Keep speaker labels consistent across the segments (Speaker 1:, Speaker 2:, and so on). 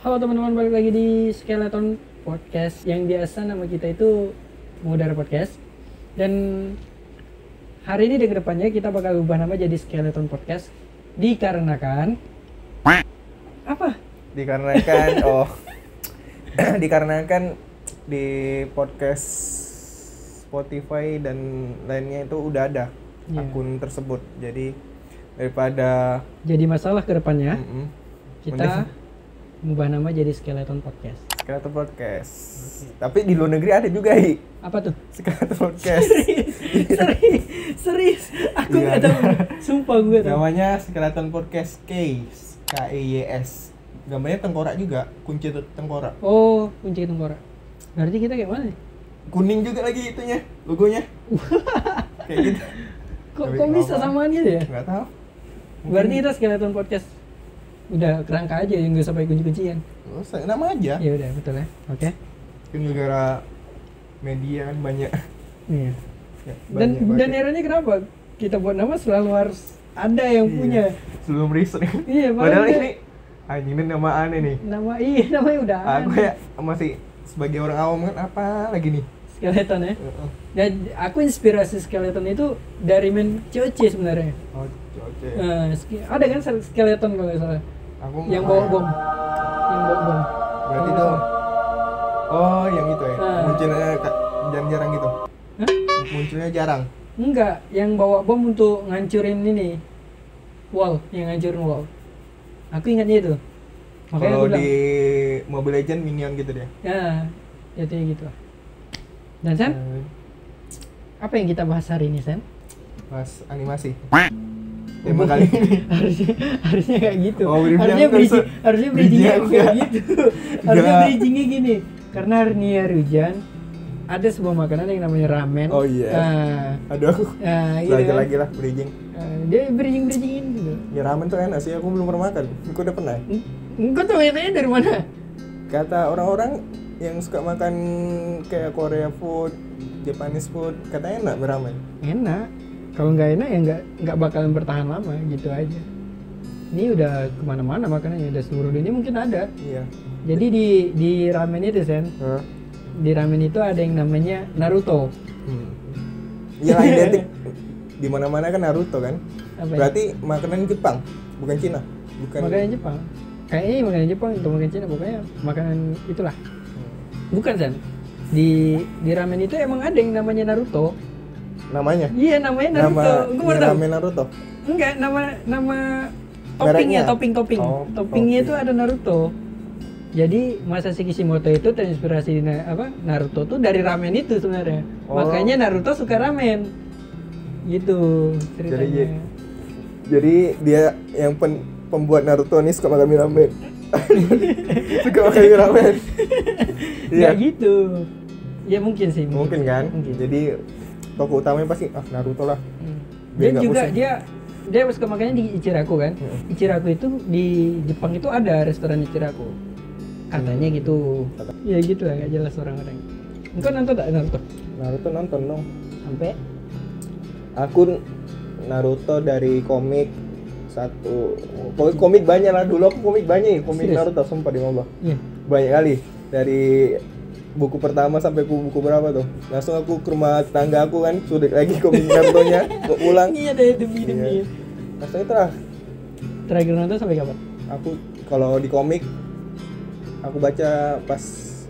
Speaker 1: Halo teman-teman, balik lagi di Skeleton Podcast. Yang biasa nama kita itu Mudara Podcast. Dan hari ini dan kedepannya kita bakal ubah nama jadi Skeleton Podcast. Dikarenakan apa?
Speaker 2: dikarenakan oh dikarenakan di podcast Spotify dan lainnya itu udah ada
Speaker 1: Iya.
Speaker 2: akun tersebut jadi daripada
Speaker 1: Jadi masalah kedepannya
Speaker 2: Mm-mm.
Speaker 1: kita ubah nama jadi Skeleton Podcast.
Speaker 2: Skeleton podcast tapi di luar negeri ada juga i
Speaker 1: Apa tuh?
Speaker 2: Skeleton podcast
Speaker 1: Iya, serius, serius, aku
Speaker 2: Iya,
Speaker 1: nggak
Speaker 2: ada.
Speaker 1: tahu. Sumpah gue nggak tahu.
Speaker 2: namanya Skeleton podcast K K E Y S gambarnya tengkorak juga kunci te- tengkorak
Speaker 1: Oh, kunci tengkorak. Berarti kita kayak mana?
Speaker 2: kuning juga lagi itunya logonya kayak gitu
Speaker 1: Kok,
Speaker 2: Tapi
Speaker 1: kok bisa
Speaker 2: kenapa?
Speaker 1: samaan gitu ya?
Speaker 2: nggak tahu
Speaker 1: Berarti kita skeleton podcast udah kerangka aja yang gak sampai kunci-kuncian.
Speaker 2: Terus, nama aja
Speaker 1: Ya udah betul ya. Oke.
Speaker 2: kan gara media kan banyak
Speaker 1: Iya.
Speaker 2: ya,
Speaker 1: Dan
Speaker 2: banyak
Speaker 1: dan
Speaker 2: banget.
Speaker 1: eranya kenapa kita buat nama selalu harus ada yang
Speaker 2: Iya.
Speaker 1: punya.
Speaker 2: sebelum riset
Speaker 1: Iya,
Speaker 2: padahal
Speaker 1: makanya-
Speaker 2: ini anjing ini nama aneh nih
Speaker 1: Nama iya namanya udah
Speaker 2: aku
Speaker 1: ada.
Speaker 2: ya masih sebagai orang awam kan apa lagi nih
Speaker 1: skeleton ya.
Speaker 2: Heeh.
Speaker 1: Dan aku inspirasi skeleton itu dari main COC sebenarnya.
Speaker 2: oh oke
Speaker 1: Eh, ske- ada kan skeleton kalau nggak salah
Speaker 2: aku
Speaker 1: yang
Speaker 2: nggak
Speaker 1: bawa bom. Yang bawa bom.
Speaker 2: tahu. berarti itu oh yang itu ya
Speaker 1: Ah.
Speaker 2: munculnya ka- jarang-jarang gitu
Speaker 1: Hah?
Speaker 2: munculnya jarang
Speaker 1: Enggak, yang bawa bom untuk ngancurin ini wall, yang ngancurin wall. Aku ingatnya itu. Makanya aku
Speaker 2: kalau
Speaker 1: bilang,
Speaker 2: di Mobile Legend minion gitu dia
Speaker 1: ya, ya kayak gitu. lah. Dan Sen,
Speaker 2: Eh,
Speaker 1: apa yang kita bahas hari ini Sen?
Speaker 2: pas animasi
Speaker 1: Oh.
Speaker 2: emang kali ini
Speaker 1: harusnya harusnya kayak gitu.
Speaker 2: Oh, bridging
Speaker 1: harusnya
Speaker 2: aku
Speaker 1: bridging,
Speaker 2: harus-
Speaker 1: harusnya bridgingnya
Speaker 2: bridging aku
Speaker 1: kayak
Speaker 2: nggak-
Speaker 1: gitu. harusnya
Speaker 2: nggak.
Speaker 1: bridgingnya gini. Karena hari ini hari hujan, ada sebuah makanan yang namanya ramen.
Speaker 2: Oh, iya.
Speaker 1: Nah,
Speaker 2: aduh aku
Speaker 1: nah, gitu kan.
Speaker 2: lagi-lagi lah bridging
Speaker 1: Nah, dia bridging bridgingin gitu.
Speaker 2: Ya ramen tuh enak sih, aku belum pernah makan. Aku udah pernah.
Speaker 1: Engkau tahu tanya dari mana?
Speaker 2: Kata orang-orang yang suka makan kayak Korea food, Japanese food, katanya enak beramen.
Speaker 1: enak kalau nggak enak ya nggak nggak bakalan bertahan lama gitu aja ini udah kemana-mana makanannya udah seluruh dunia mungkin ada
Speaker 2: Iya.
Speaker 1: jadi di di ramen itu sen
Speaker 2: Hah?
Speaker 1: di ramen itu ada yang namanya Naruto
Speaker 2: Hmm. Iyalah identik. Di mana-mana kan Naruto kan.
Speaker 1: apa ya?
Speaker 2: Berarti makanan Jepang, bukan Cina, bukan.
Speaker 1: makanan Jepang kayaknya ini makanan Jepang atau makanan Cina pokoknya makanan itulah
Speaker 2: Hmm.
Speaker 1: bukan sen di di ramen itu emang ada yang namanya Naruto
Speaker 2: Namanya.
Speaker 1: iya namanya
Speaker 2: Nama
Speaker 1: Naruto gue baru tahu
Speaker 2: ramen Naruto.
Speaker 1: enggak nama nama toppingnya
Speaker 2: Mereknya?
Speaker 1: topping topping
Speaker 2: Oh,
Speaker 1: toppingnya
Speaker 2: topping.
Speaker 1: itu ada Naruto jadi Masashi Kishimoto itu terinspirasi na- apa Naruto tuh dari ramen itu sebenarnya
Speaker 2: Oh.
Speaker 1: makanya Naruto suka ramen gitu ceritanya
Speaker 2: Jadi, Jadi dia yang pen- pembuat Naruto ini suka makan mie ramen. suka makan mie ramen.
Speaker 1: ya gitu ya mungkin sih
Speaker 2: iya. Mungkin kan?
Speaker 1: Mungkin.
Speaker 2: Jadi toko utamanya pasti ah Naruto lah.
Speaker 1: Hmm. dan
Speaker 2: Biar nggak
Speaker 1: juga
Speaker 2: pusing.
Speaker 1: dia dia suka makannya di Ichiraku kan
Speaker 2: Hmm.
Speaker 1: Ichiraku itu di Jepang itu ada restoran Ichiraku katanya
Speaker 2: Hmm.
Speaker 1: gitu ya gitu lah nggak jelas orang-orang engkau nonton tak Naruto
Speaker 2: Naruto nonton dong.
Speaker 1: sampai
Speaker 2: Aku n- Naruto dari komik satu komik, komik banyak lah dulu aku komik banyak ya, komik
Speaker 1: Serius?
Speaker 2: Naruto sumpah di Allah
Speaker 1: iya
Speaker 2: banyak kali dari buku pertama sampai buku, buku berapa tuh langsung aku ke rumah tetangga aku kan sudah lagi komik Naruto nya aku pulang
Speaker 1: iya deh demi
Speaker 2: Iya. langsung itu lah
Speaker 1: terakhir nonton sampai kapan
Speaker 2: aku kalau di komik aku baca pas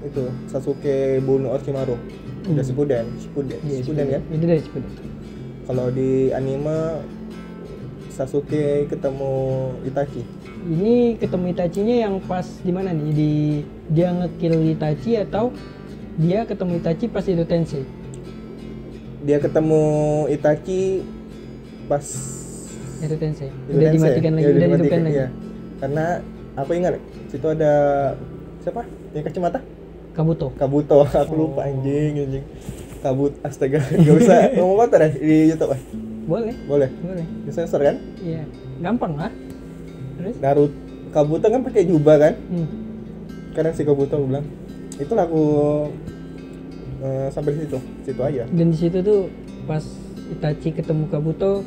Speaker 2: itu Sasuke bunuh Orochimaru udah Shippuden Shippuden Shippuden kan
Speaker 1: itu dari Iya, Shippuden
Speaker 2: Kalau di anime Sasuke ketemu Itachi.
Speaker 1: ini ketemu Itachinya yang pas di mana nih di dia ngekill Itachi atau dia ketemu Itachi pas itu Tensei
Speaker 2: Dia ketemu Itachi pas
Speaker 1: itu Tensei
Speaker 2: Hidup
Speaker 1: udah
Speaker 2: Tensei.
Speaker 1: dimatikan lagi
Speaker 2: Iya,
Speaker 1: udah
Speaker 2: dimatikan,
Speaker 1: dihidupkan lagi
Speaker 2: iya. Karena aku ingat situ ada siapa? Yang kacamata?
Speaker 1: Kabuto
Speaker 2: Kabuto. Aku
Speaker 1: Oh.
Speaker 2: lupa anjing anjing. Kabut astaga nggak usah ngomong kotor ya di YouTube eh?
Speaker 1: boleh
Speaker 2: Boleh.
Speaker 1: boleh
Speaker 2: Disensor kan?
Speaker 1: iya gampang lah terus
Speaker 2: Naruto Kabuto kan pakai jubah kan?
Speaker 1: hmm.
Speaker 2: Kadang si Kabuto aku bilang. Itulah aku eh, sampai di situ. Situ aja.
Speaker 1: dan di situ tuh pas Itachi ketemu Kabuto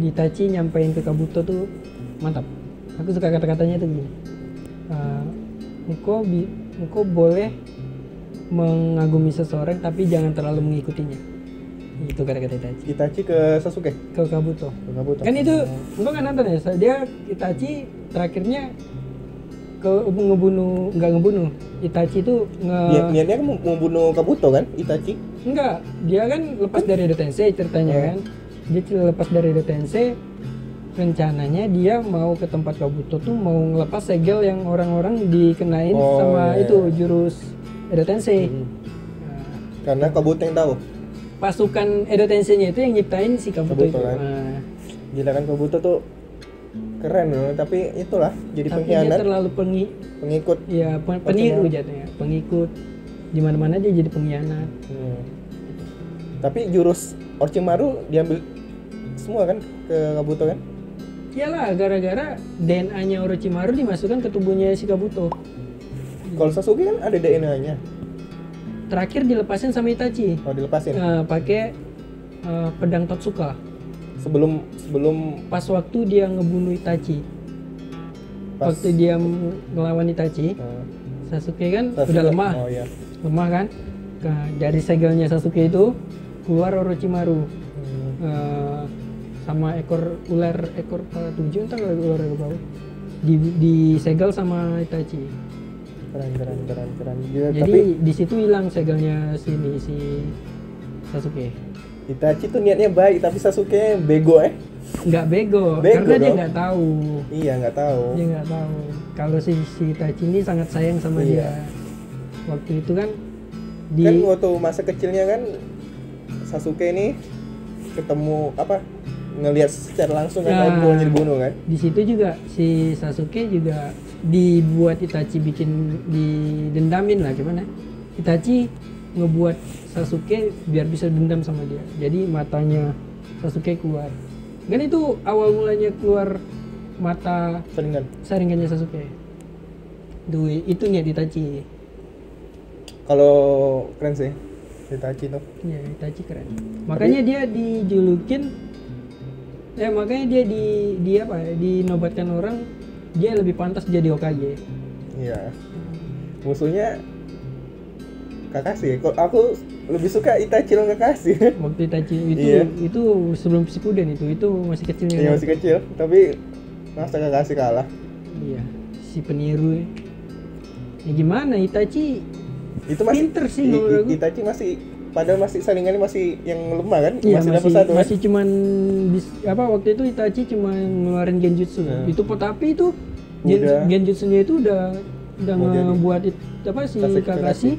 Speaker 1: Itachi nyampein ke Kabuto tuh mantap aku suka kata-katanya tuh gini Eh, engkau bi- engkau boleh mengagumi seseorang tapi jangan terlalu mengikutinya itu kata-kata Itachi
Speaker 2: Itachi ke Sasuke
Speaker 1: ke Kabuto
Speaker 2: ke Kabuto
Speaker 1: kan itu engkau kan nonton ya dia Itachi terakhirnya ke ngebunuh nggak ngebunuh Itachi itu nge
Speaker 2: Niat- niatnya kan mau mau bunuh Kabuto kan Itachi
Speaker 1: Enggak, dia kan lepas dari Edo Tensei ceritanya
Speaker 2: Hmm.
Speaker 1: kan. Dia cel- lepas dari Edo Tensei rencananya dia mau ke tempat Kabuto tuh mau ngelepas segel yang orang-orang dikenain
Speaker 2: Oh,
Speaker 1: sama
Speaker 2: iya. Mhm.
Speaker 1: itu jurus Edo Tensei. Nah,
Speaker 2: Hmm. karena Kabuto yang tahu
Speaker 1: pasukan Edo Tensei-nya itu yang nyiptain si Kabuto, itu.
Speaker 2: Kabuto kan.
Speaker 1: Nah,
Speaker 2: gila kan Kabuto tuh keren loh tapi itulah jadi
Speaker 1: tapi dia
Speaker 2: pengkhianat
Speaker 1: terlalu pengi
Speaker 2: pengikut
Speaker 1: ya pe- peniru jatuhnya, pengikut. Di mana-mana dia jadi pengkhianat.
Speaker 2: Hmm. tapi jurus Orochimaru diambil semua kan ke Kabuto kan
Speaker 1: Iyalah gara-gara DNA-nya Orochimaru dimasukkan ke tubuhnya si Kabuto. Hmm.
Speaker 2: kalau Sasuke kan ada DNA-nya
Speaker 1: Terakhir dilepasin sama Itachi.
Speaker 2: kalau dilepasin
Speaker 1: eh, pakai eh, pedang Totsuka
Speaker 2: sebelum sebelum
Speaker 1: pas waktu dia ngebunuh Itachi
Speaker 2: pas
Speaker 1: waktu dia m- ngelawan Itachi
Speaker 2: eh,
Speaker 1: Sasuke kan
Speaker 2: Sasuke-
Speaker 1: udah lemah
Speaker 2: oh iya
Speaker 1: lemah kan Ke- dari segelnya Sasuke itu keluar Orochimaru
Speaker 2: Hmm.
Speaker 1: Eh, sama ekor ular ekor ketujuh entah kalau ular ekor berapa di, disegel sama Itachi
Speaker 2: keren keren keren keren Gila, tapi
Speaker 1: jadi di situ hilang segelnya sini si Sasuke
Speaker 2: Itachi tuh niatnya baik tapi Sasuke bego eh
Speaker 1: nggak bego,
Speaker 2: Bego
Speaker 1: karena dia
Speaker 2: dong.
Speaker 1: nggak tahu
Speaker 2: iya nggak tahu
Speaker 1: dia nggak tahu kalau si si Tachi ini sangat sayang sama dia
Speaker 2: Iya.
Speaker 1: waktu itu kan di
Speaker 2: kan waktu masa kecilnya kan Sasuke ini ketemu apa ngelihat secara langsung
Speaker 1: Ya.
Speaker 2: kan Naruto dibunuh kan
Speaker 1: di situ juga si Sasuke juga dibuat Itachi bikin didendamin lah gimana Itachi ngebuat Sasuke biar bisa dendam sama dia jadi matanya Sasuke keluar kan itu awal mulanya keluar mata
Speaker 2: seringan
Speaker 1: saringannya Sasuke Duit itu niat Itachi
Speaker 2: kalau keren sih Itachi tuh
Speaker 1: Iya, Itachi keren. Makanya dia dijulukin eh makanya dia di di apa ya, dinobatkan orang dia lebih pantas jadi Hokage.
Speaker 2: iya musuhnya Kakashi Kok aku lebih suka Itachi loh Kakashi
Speaker 1: Waktu Itachi itu
Speaker 2: Iya.
Speaker 1: itu sebelum Shippuden itu itu masih ya kan? kecilnya.
Speaker 2: Iya masih kecil tapi masa Kakashi kalah
Speaker 1: Iya, si peniru. ya. Ya gimana Itachi
Speaker 2: itu masih
Speaker 1: Pinter sih
Speaker 2: I-
Speaker 1: menurut
Speaker 2: I-
Speaker 1: aku.
Speaker 2: Itachi masih padahal masih saringannya masih yang lemah kan
Speaker 1: Iya,
Speaker 2: masih
Speaker 1: masih
Speaker 2: dapat
Speaker 1: masih,
Speaker 2: satu kan?
Speaker 1: cuman bis- apa waktu itu Itachi cuman ngeluarin genjutsu.
Speaker 2: Nah.
Speaker 1: Itu pot- tapi itu gen,
Speaker 2: Udah.
Speaker 1: genjutsunya itu udah udah
Speaker 2: Mau jadi.
Speaker 1: ngebuat it, apa si
Speaker 2: Kakashi-
Speaker 1: Kakashi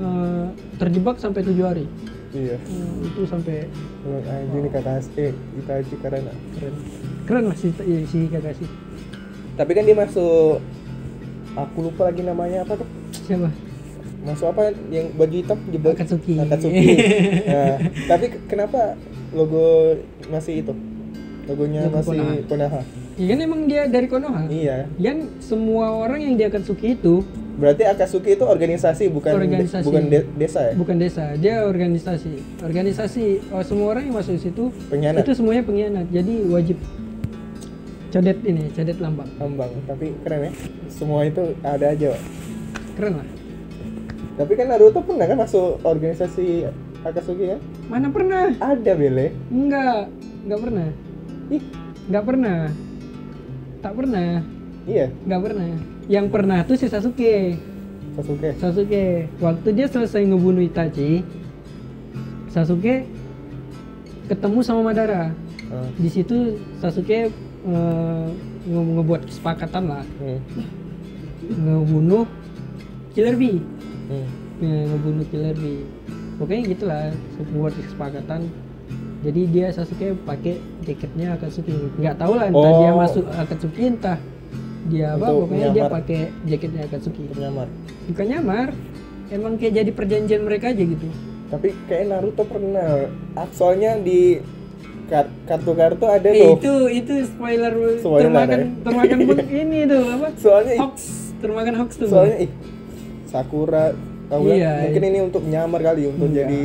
Speaker 1: eh, terjebak sampai tujuh hari.
Speaker 2: iya
Speaker 1: Eh, itu sampai
Speaker 2: Emang anjing nih Kakashi eh Itachi keren ah.
Speaker 1: keren. Keren lah si, iya, si Kakashi.
Speaker 2: tapi kan dia masuk aku lupa lagi namanya apa tuh
Speaker 1: Siapa?
Speaker 2: masuk apa yang baju hitam jebak
Speaker 1: Akatsuki.
Speaker 2: Akatsuki. nah, tapi ke- kenapa logo masih itu logonya
Speaker 1: Logo
Speaker 2: masih Konoha
Speaker 1: Ya kan emang dia dari Konoha.
Speaker 2: iya
Speaker 1: Kan semua orang yang di Akatsuki itu
Speaker 2: berarti Akatsuki itu organisasi bukan de-
Speaker 1: Organisasi.
Speaker 2: bukan de- desa ya
Speaker 1: bukan desa, dia organisasi. Organisasi oh, semua orang yang masuk di situ
Speaker 2: pengkhianat
Speaker 1: itu semuanya pengkhianat jadi wajib codet ini codet lambang
Speaker 2: ambang tapi keren ya semua itu ada aja Wak.
Speaker 1: keren lah
Speaker 2: tapi kan Naruto pernah kan masuk organisasi Akatsuki kan
Speaker 1: mana pernah
Speaker 2: ada bele
Speaker 1: enggak enggak pernah
Speaker 2: ih
Speaker 1: enggak pernah tak pernah
Speaker 2: iya
Speaker 1: enggak pernah yang pernah tuh si Sasuke
Speaker 2: Sasuke
Speaker 1: Sasuke waktu dia selesai ngebunuh Itachi Sasuke ketemu sama Madara
Speaker 2: Ah,
Speaker 1: di situ Sasuke eh, nge- ngebuat kesepakatan lah
Speaker 2: hmm,
Speaker 1: ngebunuh Killer Bee
Speaker 2: hmm.
Speaker 1: Ya, ngebunuh killer di pokoknya gitulah sebuah kesepakatan jadi dia Sasuke pakai tiketnya Akatsuki nggak tahu lah entah
Speaker 2: Oh.
Speaker 1: dia masuk Akatsuki entah dia apa
Speaker 2: Untuk
Speaker 1: pokoknya dia
Speaker 2: menyamar.
Speaker 1: pakai jaketnya Akatsuki
Speaker 2: Penyamar.
Speaker 1: bukan nyamar emang kayak jadi perjanjian mereka aja gitu
Speaker 2: tapi kayak Naruto pernah Ah, soalnya di kar- kartu-kartu ada
Speaker 1: Eh,
Speaker 2: tuh
Speaker 1: itu itu spoiler,
Speaker 2: Spoiler,
Speaker 1: termakan
Speaker 2: ya?
Speaker 1: termakan beng- ini tuh apa
Speaker 2: soalnya
Speaker 1: hoax termakan hoax tuh
Speaker 2: soalnya ih, Sakura tahu nggak?
Speaker 1: Iya,
Speaker 2: mungkin ini untuk nyamar kali untuk
Speaker 1: Iya.
Speaker 2: jadi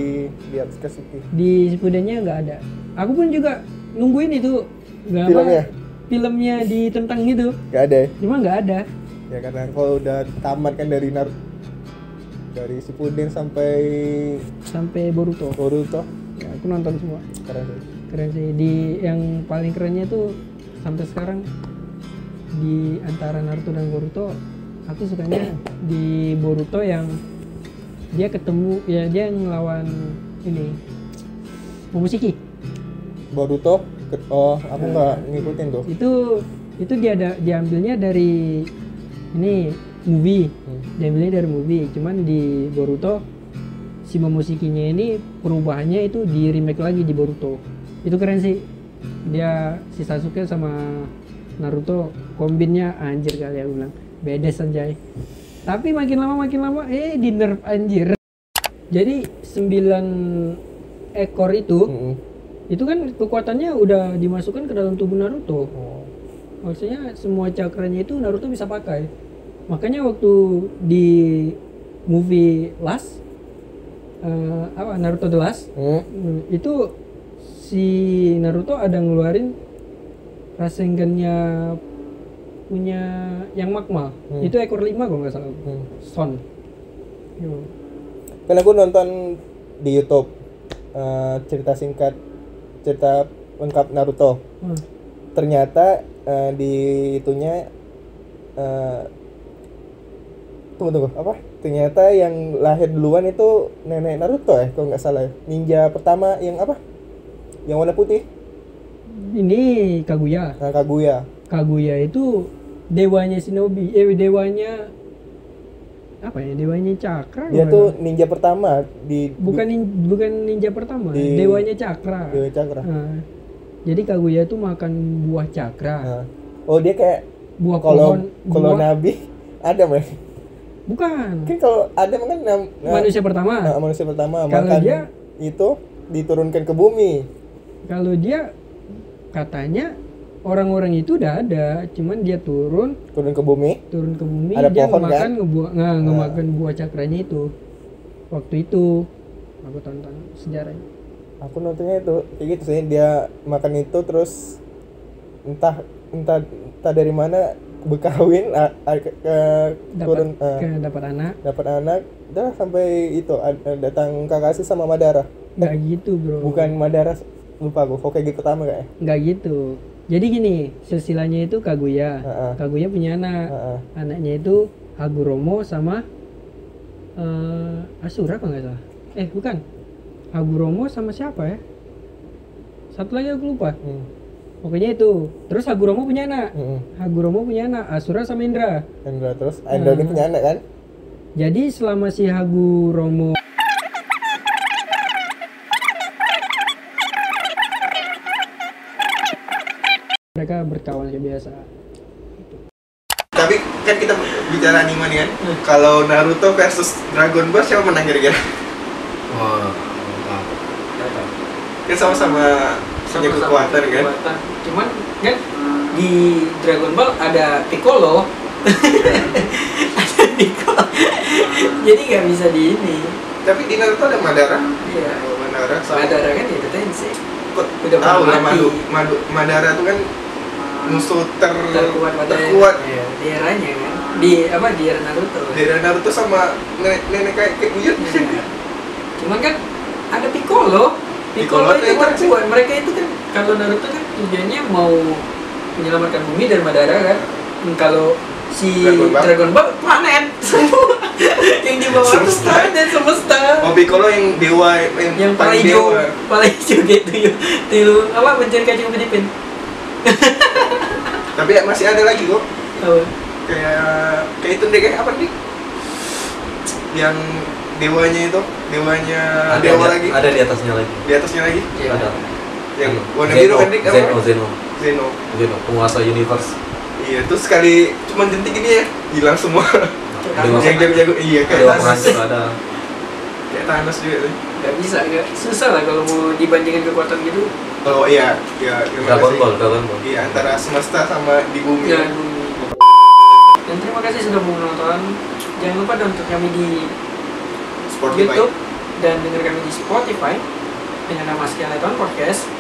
Speaker 2: lihat Akatsuki
Speaker 1: di Shippuden-nya nggak ada. Aku pun juga nungguin itu nggak apa, gitu.
Speaker 2: Filmnya?
Speaker 1: filmnya di tentang itu,
Speaker 2: gak ada ya
Speaker 1: cuma nggak ada.
Speaker 2: ya karena kalau udah tamat kan dari nar dari Shippuden sampai
Speaker 1: sampai Boruto.
Speaker 2: Boruto
Speaker 1: Ya, aku nonton semua.
Speaker 2: keren sih.
Speaker 1: Keren sih. Di yang paling kerennya tuh sampai sekarang di antara Naruto dan Boruto, aku sukanya di Boruto yang dia ketemu ya dia ngelawan ini Momoshiki.
Speaker 2: Boruto ke- oh aku
Speaker 1: Iya.
Speaker 2: nggak ngikutin tuh
Speaker 1: Itu itu dia ada diambilnya dari ini movie.
Speaker 2: Hmm.
Speaker 1: diambilnya dari movie cuman di Boruto si Momoshikinya ini perubahannya itu di remake lagi di Boruto itu keren sih dia si Sasuke sama Naruto kombinnya anjir kali ya gue bilang bedes anjay tapi makin lama makin lama eh di nerf anjir jadi 9 ekor itu
Speaker 2: Mm-mm.
Speaker 1: itu kan kekuatannya udah dimasukkan ke dalam tubuh Naruto
Speaker 2: Oh.
Speaker 1: maksudnya semua cakranya itu Naruto bisa pakai makanya waktu di movie Last eh, apa Naruto The Last
Speaker 2: Hmm.
Speaker 1: hmm, itu si Naruto ada ngeluarin Rasengannya punya yang magma
Speaker 2: Hmm.
Speaker 1: itu ekor lima kalau nggak salah
Speaker 2: Hmm.
Speaker 1: Son Yo.
Speaker 2: Kan aku nonton di YouTube eh, cerita singkat cerita lengkap Naruto.
Speaker 1: Hmm.
Speaker 2: Ternyata eh, di itunya eh, tunggu tunggu apa? Ternyata yang lahir duluan itu nenek Naruto ya kalau nggak salah. ya. Ninja pertama yang apa? Yang warna putih,
Speaker 1: ini Kaguya
Speaker 2: nah, Kaguya.
Speaker 1: Kaguya itu dewanya Shinobi eh dewanya apa ya dewanya ya? cakra
Speaker 2: Dia
Speaker 1: kalau
Speaker 2: tuh ninja pertama di
Speaker 1: bukan nin- bukan ninja pertama
Speaker 2: Di-
Speaker 1: dewanya cakra
Speaker 2: Dewa iya. Cakra.
Speaker 1: Nah, jadi Kaguya itu makan buah cakra
Speaker 2: Nah. Oh, dia kayak
Speaker 1: buah pohon
Speaker 2: kalau kalau
Speaker 1: buah,
Speaker 2: Nabi Adam ya.
Speaker 1: bukan
Speaker 2: Kan kalau Adam kan nam- nah,
Speaker 1: manusia pertama
Speaker 2: Nah, manusia pertama
Speaker 1: Kalau
Speaker 2: makan
Speaker 1: dia-
Speaker 2: itu diturunkan ke bumi.
Speaker 1: kalau dia katanya orang-orang itu udah ada cuman dia turun
Speaker 2: Turun ke bumi.
Speaker 1: turun ke bumi
Speaker 2: Ada
Speaker 1: dia
Speaker 2: pohon,
Speaker 1: ngemakan
Speaker 2: kan?
Speaker 1: ngebuah nggak
Speaker 2: Nah.
Speaker 1: ngemakan buah cakranya itu waktu itu aku tonton sejarahnya
Speaker 2: Aku nontonnya itu kayak gitu sih dia makan itu terus entah entah entah dari mana berkawin a- a- ke, ke- turun
Speaker 1: dapat
Speaker 2: eh,
Speaker 1: ke- dapat anak
Speaker 2: dapat anak udah sampai itu ad- datang Kakashi sama Madara.
Speaker 1: nggak gitu bro
Speaker 2: Eh. Bukan Madara lupa aku Hokage pertama ya? kayaknya.
Speaker 1: nggak gitu jadi gini silsilanya itu Kaguya
Speaker 2: Heeh.
Speaker 1: Kaguya punya anak
Speaker 2: Heeh.
Speaker 1: anaknya itu Haguromo sama eh, Asura kalau nggak salah eh bukan Haguromo sama siapa ya satu lagi aku lupa
Speaker 2: Hmm.
Speaker 1: pokoknya itu terus Haguromo punya anak
Speaker 2: Mm-mm.
Speaker 1: Haguromo punya anak Asura sama Indra
Speaker 2: Indra terus Indra ini punya anak kan?
Speaker 1: jadi selama si Haguromo mereka berkawan kayak biasa
Speaker 2: Tapi kan kita bicara anime nih kan.
Speaker 3: Hmm.
Speaker 2: Kalau Naruto versus Dragon Ball siapa menang kira-kira?
Speaker 4: Wah, mantap.
Speaker 2: Kan sama-sama punya
Speaker 3: Sama-sama
Speaker 2: kekuatan kan?
Speaker 3: kekuatan. Cuman kan di Dragon Ball ada Piccolo. ada Piccolo. Jadi nggak bisa di ini.
Speaker 2: Tapi di Naruto ada Madara.
Speaker 3: Iya.
Speaker 2: Madara sama
Speaker 3: Madara kan itu Tensei.
Speaker 2: Kok
Speaker 3: udah
Speaker 2: tahu lah
Speaker 3: mati.
Speaker 2: Madu, Madu, Madara tuh kan musuh ter
Speaker 3: Terkuat Madara.
Speaker 2: terkuat.
Speaker 3: Iya, Di eranya kan. Di apa di era Naruto. kan?
Speaker 2: Dari Naruto sama nenek, nenek kayak kayak buyut.
Speaker 3: Iya. Cuman kan ada Piccolo.
Speaker 2: Piccolo
Speaker 3: Piccolo, itu
Speaker 2: itu Tensei.
Speaker 3: terkuat. Mereka itu kan kalau Naruto kan tujuannya mau menyelamatkan bumi dan Madara kan. Hmm, Kalau si
Speaker 2: Dragon
Speaker 3: Dragon
Speaker 2: Ball.
Speaker 3: Ball, planet semua yang di bawah itu
Speaker 2: Semesta.
Speaker 3: planet semesta.
Speaker 2: Oh Piccolo yang dewa yang,
Speaker 3: yang paling hijau, paling hijau kayak tuyul, tuyul ya. apa mencari kacang penipin.
Speaker 2: Tapi masih ada lagi kok.
Speaker 3: Apa?
Speaker 2: Kayak kayak itu deh kayak apa nih? Yang dewanya itu, dewanya dewa
Speaker 4: di-
Speaker 2: lagi.
Speaker 4: Ada di atasnya lagi.
Speaker 2: Di atasnya lagi.
Speaker 3: Iya.
Speaker 4: Ada.
Speaker 2: Yang
Speaker 4: Ada.
Speaker 2: warna
Speaker 4: Zeno,
Speaker 2: biru kan Dik? Apa?
Speaker 4: Zeno, Zeno,
Speaker 2: Zeno.
Speaker 4: Zeno, penguasa universe.
Speaker 2: Iya, terus sekali cuman jentik ini ya, hilang semua.
Speaker 4: Dewa,
Speaker 2: Yang jago-jago iya kayak
Speaker 4: Dewa
Speaker 2: Thanos.
Speaker 4: penghancur ada.
Speaker 2: Kayak Thanos juga tuh.
Speaker 3: Gak bisa, gak susah lah kalau mau dibandingin kekuatan gitu.
Speaker 2: Oh iya, iya. terima
Speaker 4: Dragon
Speaker 2: kasih.
Speaker 4: Ball, Dragon Ball.
Speaker 2: Iya, antara semesta sama di bumi.
Speaker 3: Ya.
Speaker 1: Iya.
Speaker 3: Dan terima kasih sudah mau menonton. Jangan lupa untuk kami di
Speaker 2: Spotify.
Speaker 1: Gitu.
Speaker 3: YouTube dan dengar kami di Spotify dengan nama Skeleton Podcast.